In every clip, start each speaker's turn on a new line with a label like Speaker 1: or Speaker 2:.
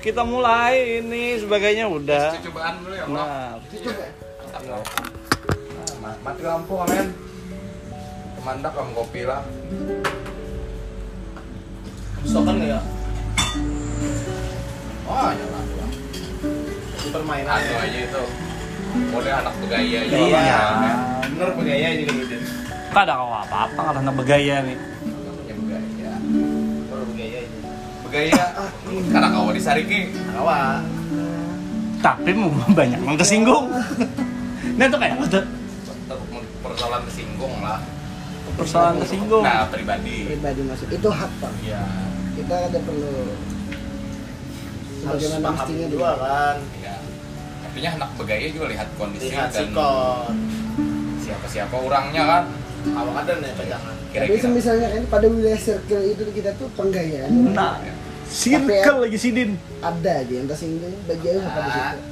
Speaker 1: kita mulai ini sebagainya udah.
Speaker 2: cobaan dulu ya bro
Speaker 1: Nah,
Speaker 2: Nah, mati lampu amen kemandak kamu kopi lah
Speaker 3: Stokan nggak ya?
Speaker 2: oh nyala lah
Speaker 3: Di permainan.
Speaker 2: anu
Speaker 1: Iya.
Speaker 2: aja itu model anak bergaya aja
Speaker 3: Iya.
Speaker 2: Amen.
Speaker 3: Bener bergaya ini kayak gitu.
Speaker 1: tak ada apa-apa kalau anak bergaya nih.
Speaker 2: Anak punya bergaya
Speaker 3: Bener bergaya ini.
Speaker 2: bergaya karena kau di sariki
Speaker 3: Rawa.
Speaker 1: Tapi mau banyak yang kesinggung. Nah itu kayak ada
Speaker 2: persoalan kesinggung lah
Speaker 1: persoalan kesinggung.
Speaker 2: nah pribadi
Speaker 4: pribadi masuk itu hak pak
Speaker 2: ya
Speaker 4: kita ada perlu
Speaker 3: Harus
Speaker 4: sebagaimana
Speaker 3: paham
Speaker 4: mestinya
Speaker 3: juga
Speaker 4: juga
Speaker 3: kan.
Speaker 2: ya artinya anak bergaya juga lihat kondisi
Speaker 3: Lihat
Speaker 2: dan
Speaker 3: sikon.
Speaker 2: siapa siapa orangnya kan
Speaker 3: Awak ada nih pegangan.
Speaker 4: tapi
Speaker 2: kira-kira
Speaker 4: misalnya kan pada wilayah circle itu kita tuh penggayaan
Speaker 1: Nah,
Speaker 3: ya.
Speaker 1: circle lagi sidin.
Speaker 4: ada aja yang tersinggung bagi aku apa di
Speaker 2: Nah,
Speaker 4: situ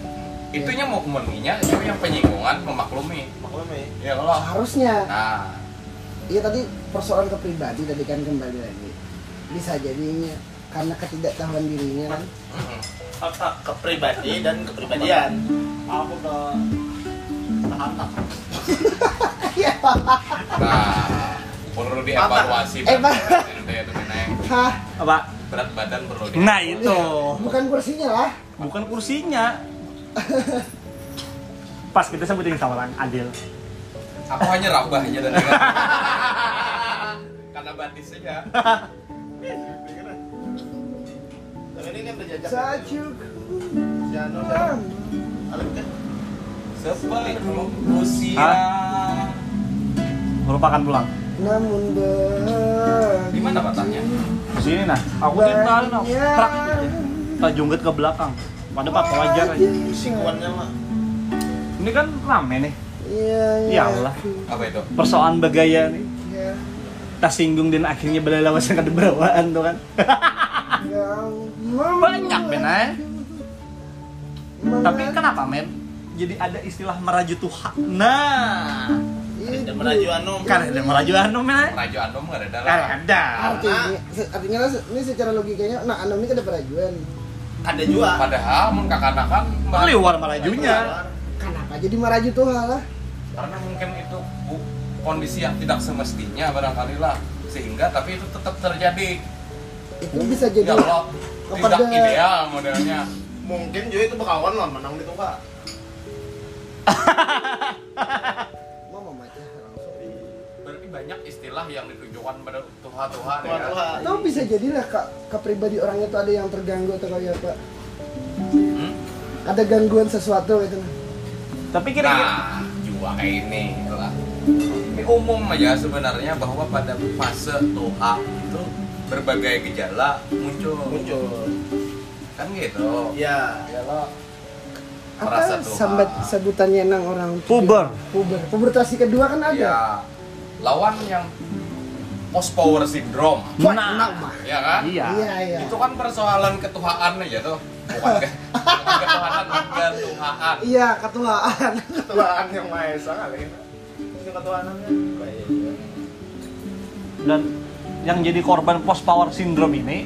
Speaker 2: itunya mau kemeninya cuma yang penyinggungan memaklumi
Speaker 3: Maklum ya.
Speaker 2: ya Allah
Speaker 4: harusnya
Speaker 2: nah
Speaker 4: ya tadi persoalan ke pribadi tadi kan kembali lagi bisa jadinya karena ketidaktahuan dirinya kan
Speaker 2: mm,
Speaker 3: Apa kepribadi dan kepribadian. Aku ke anak.
Speaker 4: iya
Speaker 2: nah perlu dievaluasi
Speaker 4: Eh, Pak.
Speaker 2: berat badan.
Speaker 4: hah
Speaker 1: Apa?
Speaker 2: berat badan perlu di
Speaker 1: Nah itu
Speaker 3: Iya.
Speaker 4: bukan kursinya lah
Speaker 1: bukan kursinya. Pas kita sebutin sama orang Adil.
Speaker 2: aku hanya rabah aja dan karena batis aja
Speaker 3: Tapi ini kan berjajak.
Speaker 4: sajuk
Speaker 3: Jano. Ada bukan?
Speaker 2: sebelum usia
Speaker 1: Melupakan pulang.
Speaker 4: namun ber
Speaker 2: di mana patahnya
Speaker 1: Sini nah, aku tinggal nah. Prak. Tak jungket ke belakang. Pada pak wajar aja.
Speaker 3: Sikuannya mah.
Speaker 1: Ini kan rame nih. Ya
Speaker 4: Iya,
Speaker 1: Allah.
Speaker 2: apa itu
Speaker 1: Persoalan bagaya nih. Tak singgung dan akhirnya berlelawasan ke bawaan tuh kan. Banyak men eh. Tapi kan kenapa men? Jadi ada istilah meraju Tuhan. Nah,
Speaker 3: Ada
Speaker 4: Iya,
Speaker 3: meraju anu.
Speaker 1: kan ada meraju anu men eh.
Speaker 2: Rajo Andom nggak
Speaker 1: Kan
Speaker 2: ada dalam
Speaker 4: Nah,
Speaker 1: ada.
Speaker 4: artinya se- artinya lah, ini secara logikanya nah anak ini kan ada perajuan
Speaker 3: Ada
Speaker 4: nah.
Speaker 3: juga.
Speaker 2: padahal mun kan kakanakan mbak-
Speaker 1: Liwar merajunya.
Speaker 4: kenapa Nah, jadi meraju tuh lah
Speaker 2: karena mungkin itu bu- kondisi yang tidak semestinya barangkali lah sehingga tapi itu tetap terjadi
Speaker 4: itu bisa
Speaker 2: ya
Speaker 4: jadi
Speaker 2: Allah tidak
Speaker 4: kepada-
Speaker 2: ideal modelnya
Speaker 3: Mungkin juga itu bekawan lah menang di Tuka.
Speaker 4: mau memacah langsung
Speaker 2: berarti banyak istilah yang ditujukan pada Tuhan Tuhan ya.
Speaker 3: Tuhan-tuhan.
Speaker 4: atau bisa jadilah kak kepribadi orangnya tuh ada yang terganggu atau kayak apa
Speaker 2: Hmm?
Speaker 4: ada gangguan sesuatu gitu nah.
Speaker 1: Tapi kira-kira
Speaker 2: nah jiwa kayak ini gitu lah ini umum aja sebenarnya bahwa pada fase Tuhan itu berbagai gejala muncul
Speaker 3: Muncul.
Speaker 2: kan gitu
Speaker 3: Ya.
Speaker 2: ya lo merasa Ah.
Speaker 4: apa
Speaker 2: Tuhan
Speaker 4: sambat sebutannya nang orang
Speaker 1: puber.
Speaker 4: puber pubertasi kedua kan ada
Speaker 2: ya lawan yang post power syndrome
Speaker 4: Wah, enak,
Speaker 1: Nah,
Speaker 4: mah.
Speaker 2: ya kan
Speaker 4: iya
Speaker 1: iya.
Speaker 4: iya
Speaker 2: itu kan persoalan ketuhaan aja tuh bukan ke bukan ketuhanan ketuhaan
Speaker 4: iya ketuaan
Speaker 3: Ketuaan yang Maha Esa kali ini. Ini ketuaannya.
Speaker 1: Dan yang jadi korban post power syndrome ini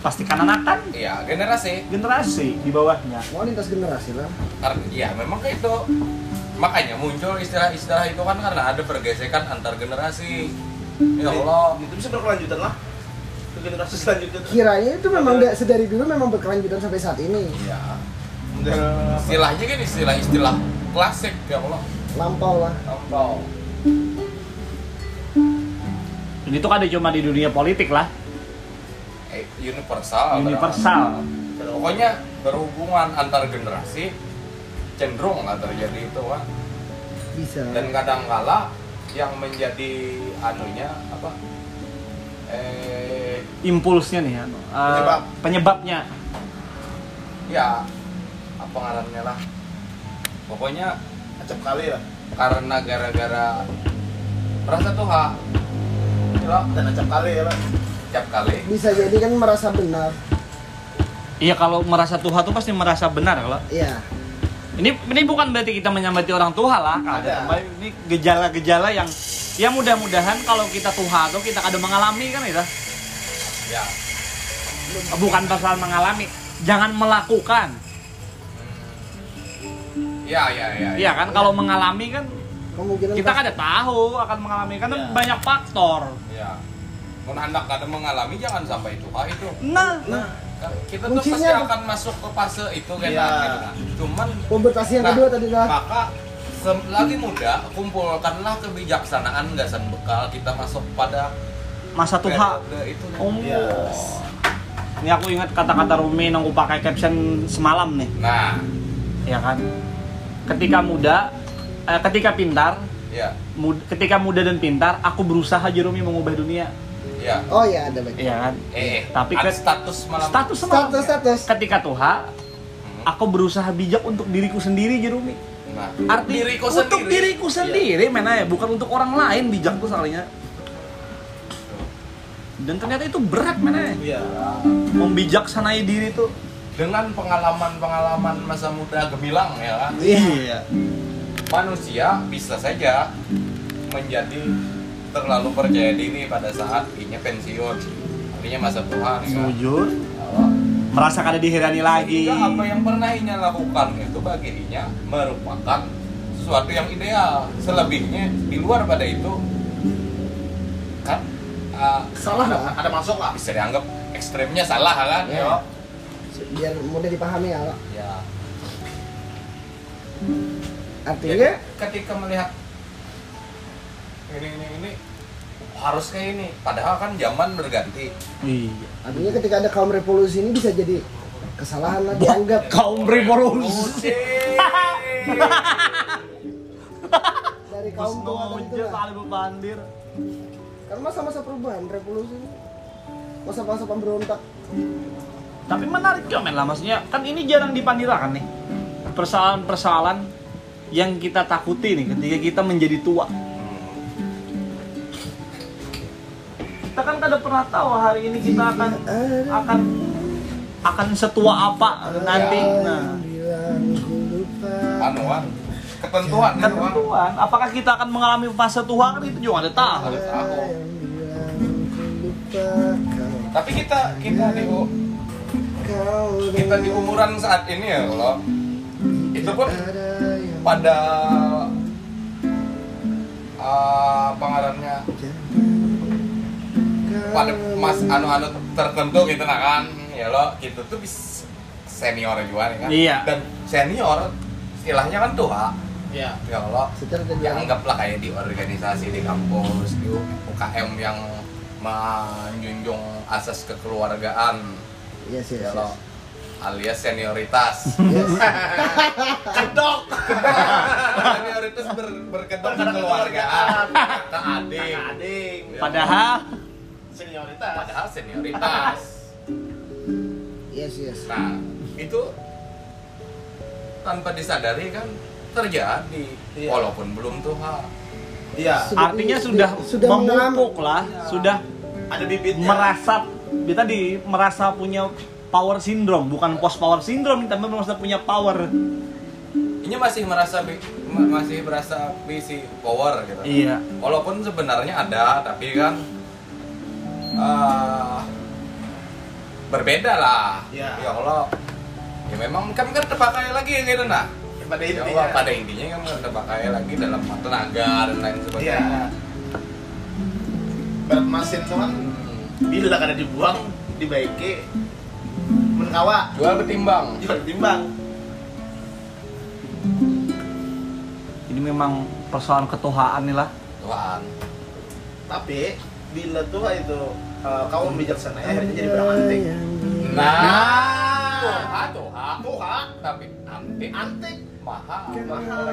Speaker 1: pasti kanak-kanak
Speaker 2: ya generasi
Speaker 1: generasi di bawahnya.
Speaker 4: mau lintas generasi lah
Speaker 2: karena ya memang kayak itu makanya muncul istilah-istilah itu kan karena ada pergesekan antar generasi ya Allah
Speaker 3: Itu gitu. bisa berkelanjutan lah. Ke generasi selanjutnya.
Speaker 4: kiranya itu memang da- sedari dulu memang berkelanjutan sampai saat ini
Speaker 2: ya
Speaker 3: Model apa?
Speaker 2: istilahnya kan istilah-istilah klasik ya Allah Ya
Speaker 4: lampau lah
Speaker 2: Tampau.
Speaker 1: Dan itu kan ada cuma di dunia politik lah,
Speaker 2: eh, universal
Speaker 1: universal.
Speaker 2: pokoknya berhubungan antar generasi cenderung lah terjadi itu kan
Speaker 4: bisa
Speaker 2: dan kadangkala yang menjadi anunya apa eh
Speaker 1: Impulsnya nih ya. eh,
Speaker 3: Penyebab.
Speaker 1: penyebabnya.
Speaker 2: ya apa ngarannya lah pokoknya
Speaker 3: Acap kali ya. lah.
Speaker 2: karena gara-gara merasa tuh ha Gila,
Speaker 3: Dan acap kali ya lah.
Speaker 2: tiap kali
Speaker 4: bisa jadi kan merasa benar
Speaker 1: Iya kalau merasa Tuhan tuh pasti merasa benar kalau.
Speaker 4: ya
Speaker 1: Ini ini bukan berarti kita menyambati orang Tuhan lah. Kalau
Speaker 3: Ada.
Speaker 1: ada. ini gejala-gejala yang ya mudah-mudahan kalau kita Tuhan tuh kita kadang mengalami kan ya.
Speaker 2: ya
Speaker 1: bukan pasal mengalami jangan melakukan
Speaker 2: Ya, ya, ya.
Speaker 1: iya kan kalau mengalami kan
Speaker 4: kemungkinan
Speaker 1: kita
Speaker 4: pas-
Speaker 1: kan ada tahu akan mengalami karena
Speaker 2: Iya.
Speaker 1: banyak faktor
Speaker 2: Ya. Mun hendak kada mengalami jangan sampai itu ha itu.
Speaker 1: nah
Speaker 4: nah
Speaker 2: Kan Kita tuh
Speaker 4: Kuncinya
Speaker 2: pasti
Speaker 4: apa?
Speaker 2: akan masuk ke fase itu kan.
Speaker 3: Iya.
Speaker 2: gitu kan. Cuman
Speaker 4: komputasi yang
Speaker 2: Nah,
Speaker 4: kedua tadi lah
Speaker 2: maka sem- lagi muda kumpulkanlah kebijaksanaan gasan bekal kita masuk pada
Speaker 1: masa tuha
Speaker 2: periode itu.
Speaker 1: oh
Speaker 3: Yes.
Speaker 1: ini aku ingat kata-kata Rumi yang aku pakai caption semalam nih
Speaker 2: Nah,
Speaker 1: ya kan ketika muda eh, ketika pintar
Speaker 2: ya,
Speaker 1: mud- ketika muda dan pintar aku berusaha Jerumi mengubah dunia
Speaker 2: ya.
Speaker 4: oh ya ada baik
Speaker 1: ya kan
Speaker 2: Eh, eh,
Speaker 1: Tapi
Speaker 2: ada
Speaker 1: kan-
Speaker 2: status malam.
Speaker 1: status semalam
Speaker 4: status status
Speaker 1: ketika tuha
Speaker 2: Hmm.
Speaker 1: aku berusaha bijak untuk diriku sendiri Jerumi
Speaker 2: Nah,
Speaker 1: arti
Speaker 2: diriku
Speaker 1: untuk
Speaker 2: sendiri.
Speaker 1: diriku Iya. sendiri men aja, bukan untuk orang lain bijak tuh soalnya dan ternyata itu berat men aja.
Speaker 3: Iya.
Speaker 1: membijaksanai diri tuh
Speaker 2: Dengan pengalaman-pengalaman masa muda gemilang ya kan,
Speaker 1: iya
Speaker 2: manusia bisa saja menjadi terlalu percaya diri pada saat inya pensiun. Artinya masa tua nih kan.
Speaker 1: jujur merasa kada dihirani lagi
Speaker 2: Sehingga apa yang pernah Inya lakukan itu bagi Inya merupakan sesuatu yang ideal. Selebihnya di luar pada itu kan ah,
Speaker 4: Salah,
Speaker 2: ada,
Speaker 4: lah.
Speaker 2: ada masuk lah bisa dianggap ekstremnya salah kan
Speaker 4: Iya.
Speaker 2: ya.
Speaker 4: biar mudah dipahami ya Pak.
Speaker 2: Ya. Jadi,
Speaker 1: Iya.
Speaker 4: artinya
Speaker 2: ketika melihat ini ini ini harus kayak ini padahal kan zaman berganti
Speaker 1: iya
Speaker 4: artinya ketika ada kaum revolusi ini bisa jadi kesalahan lah
Speaker 1: Iya.
Speaker 4: dianggap
Speaker 1: kaum revolusi
Speaker 4: dari kaum tua tadi itu lah.
Speaker 1: bandir
Speaker 4: karena masa-masa perubahan revolusi ini, masa-masa pemberontak
Speaker 1: tapi menarik ya men lah maksudnya kan ini jarang dipandirakan nih persoalan-persoalan yang kita takuti nih ketika kita menjadi tua kita kan kada pernah tahu hari ini kita akan akan akan setua apa nanti nah Anu,
Speaker 4: Bilang ku lupa.
Speaker 2: anuan ketentuan anuan
Speaker 1: ketentuan apakah kita akan mengalami fase tua kan itu juga ada tahu
Speaker 2: harus aku
Speaker 4: Bilang ku lupa kau,
Speaker 2: tapi kita kita di u-
Speaker 4: kau
Speaker 2: kita di
Speaker 4: dengan
Speaker 2: umuran saat ini ya kalau itu pun
Speaker 4: ada yang
Speaker 2: pada eh pengarannya
Speaker 4: kau
Speaker 2: pada mas anu-anu tertentu gitu nah kan ya lo gitu tuh bis senior juga nih kan
Speaker 1: Iya.
Speaker 2: dan senior istilahnya kan tua
Speaker 3: Iya.
Speaker 2: ya lo
Speaker 4: secara
Speaker 2: ya
Speaker 4: tidak
Speaker 2: anggaplah kayak di organisasi di kampus di UKM yang menjunjung asas kekeluargaan
Speaker 4: yes
Speaker 2: ya
Speaker 4: yes yes.
Speaker 2: lo alias senioritas
Speaker 4: Yes.
Speaker 2: kedok senioritas ber, berkedok kekeluargaan kata adik
Speaker 3: Ading.
Speaker 2: Iya.
Speaker 1: padahal
Speaker 3: Senioritas.
Speaker 2: padahal senioritas
Speaker 4: yes yes
Speaker 2: Nah, itu tanpa disadari kan terjadi
Speaker 3: Iya.
Speaker 2: walaupun belum tuh hal.
Speaker 3: Iya.
Speaker 1: artinya sudah
Speaker 4: Sudah
Speaker 1: memupuk lah sudah
Speaker 3: Ada bibitnya.
Speaker 1: merasa dia tadi merasa punya power syndrome bukan post power syndrome tapi merasa punya power
Speaker 2: Ini masih merasa bi- ma- masih berasa busy power gitu.
Speaker 1: Iya.
Speaker 2: Walaupun sebenarnya ada, tapi kan eh, berbeda lah.
Speaker 3: Iya.
Speaker 2: Ya Allah. Ya memang kan kan terpakai lagi gitu nah.
Speaker 3: Pada
Speaker 2: Ya
Speaker 3: intinya.
Speaker 2: Allah, pada intinya kan terpakai lagi dalam tenaga dan lain
Speaker 3: Iya.
Speaker 2: sebagainya.
Speaker 3: Berat mesin tuh kan
Speaker 2: Hmm.
Speaker 3: bila kada dibuang dibaiki menkawa
Speaker 2: Jual ketimbang.
Speaker 3: jual timbang
Speaker 1: ini memang persoalan ketuhaan nih lah
Speaker 2: Tuhan.
Speaker 3: tapi bila tua itu eh, kau bijaksana ya akhirnya jadi beranting
Speaker 2: Nah, tuh
Speaker 3: Tuha.
Speaker 2: tapi antik
Speaker 3: antik
Speaker 2: mahal.
Speaker 3: mahal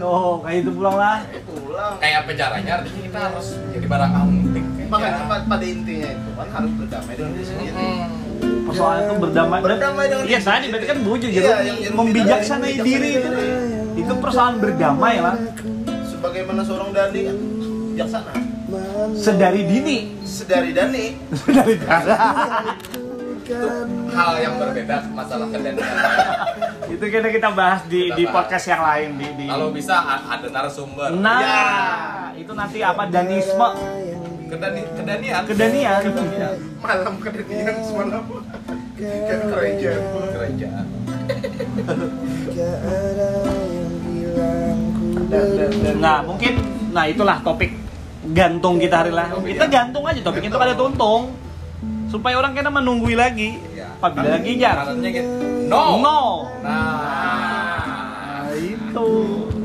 Speaker 1: no kayak itu pulang lah
Speaker 3: itu pulang
Speaker 2: Kayak apa caranya? Artinya kita harus jadi barang ya. antik.
Speaker 3: makanya pa- pada intinya itu kan harus berdamai dengan diri sendiri
Speaker 2: Hmm.
Speaker 1: persoalan itu berdamai
Speaker 3: Berdamai dengan
Speaker 1: iya
Speaker 3: diri
Speaker 1: tadi berarti kan bujur jadi
Speaker 3: Iya, yang jadi
Speaker 1: membijaksanai
Speaker 3: bijaksanai
Speaker 1: diri itu kan.
Speaker 3: diri.
Speaker 1: itu persoalan berdamai lah
Speaker 3: sebagaimana seorang dani kan bijaksana
Speaker 1: sedari dini
Speaker 3: sedari dani
Speaker 1: sedari dini
Speaker 2: Itu hal yang berbeda masalah kalian.
Speaker 1: itu kita kita bahas di di
Speaker 2: Kita bahas.
Speaker 1: podcast yang lain di, di.
Speaker 3: Iya.
Speaker 2: Kalau bisa a- ada narasumber. Iya.
Speaker 1: nah itu nanti apa danisme
Speaker 4: Yang
Speaker 2: Kedani, kedanian.
Speaker 1: Kedanian.
Speaker 2: Kedanian.
Speaker 3: malam kedenian semalam ke gereja
Speaker 2: Kerajaan.
Speaker 4: Gak ada yang bilang ku
Speaker 3: Dan- dan- dan-
Speaker 1: Nah, mungkin nah itulah topik gantung kita hari lah. Kita gantung aja topik itu ada tuntung supaya orang kena menunggui lagi. ya.
Speaker 2: Iya.
Speaker 1: Apabila lagi jar.
Speaker 2: Syaratnya gitu. No.
Speaker 1: No.
Speaker 2: Nah.
Speaker 1: Nah, itu.
Speaker 3: Nah,